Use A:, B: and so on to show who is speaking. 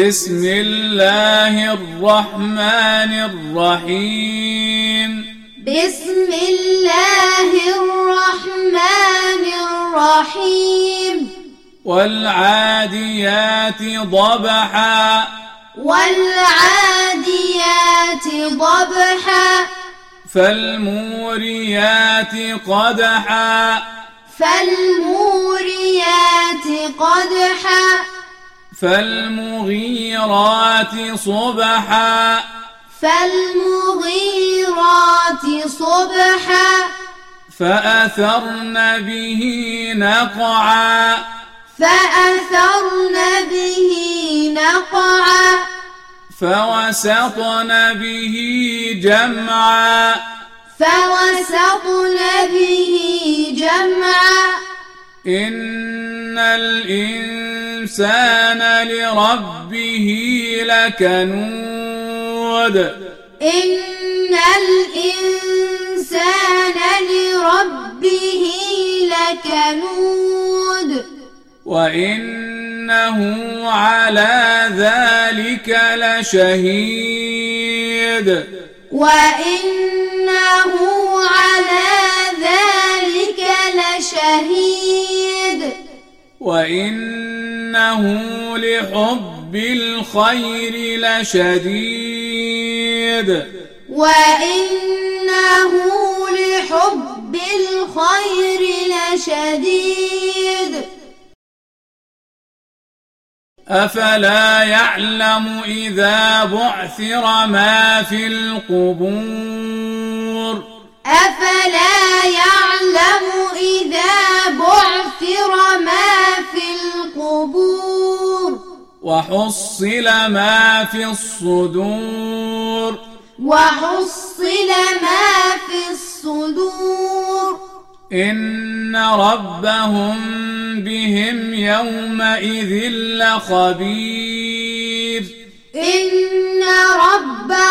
A: بسم الله الرحمن الرحيم
B: بسم الله الرحمن الرحيم
A: والعاديات ضبحا
B: والعاديات ضبحا
A: فالموريات قدحا
B: فالموريات قدحا
A: فالمغيرات صبحا
B: فالمغيرات صبحا
A: فأثرن به نقعا
B: فأثرن به نقعا
A: فوسطن به جمعا
B: فوسطن به جمعا
A: إن الإنسان لربه لكنود
B: إن الإنسان لربه لكنود
A: وإنه على ذلك لشهيد
B: وإنه على ذلك لشهيد
A: وإنه لحب الخير لشديد
B: وإنه لحب الخير لشديد
A: أفلا يعلم إذا بعثر ما في القبور
B: أفلا يعلم إذا بعثر ما في القبور
A: وحصل ما في الصدور
B: وحصل ما في الصدور
A: إن ربهم بهم يومئذ لخبير
B: إن ربهم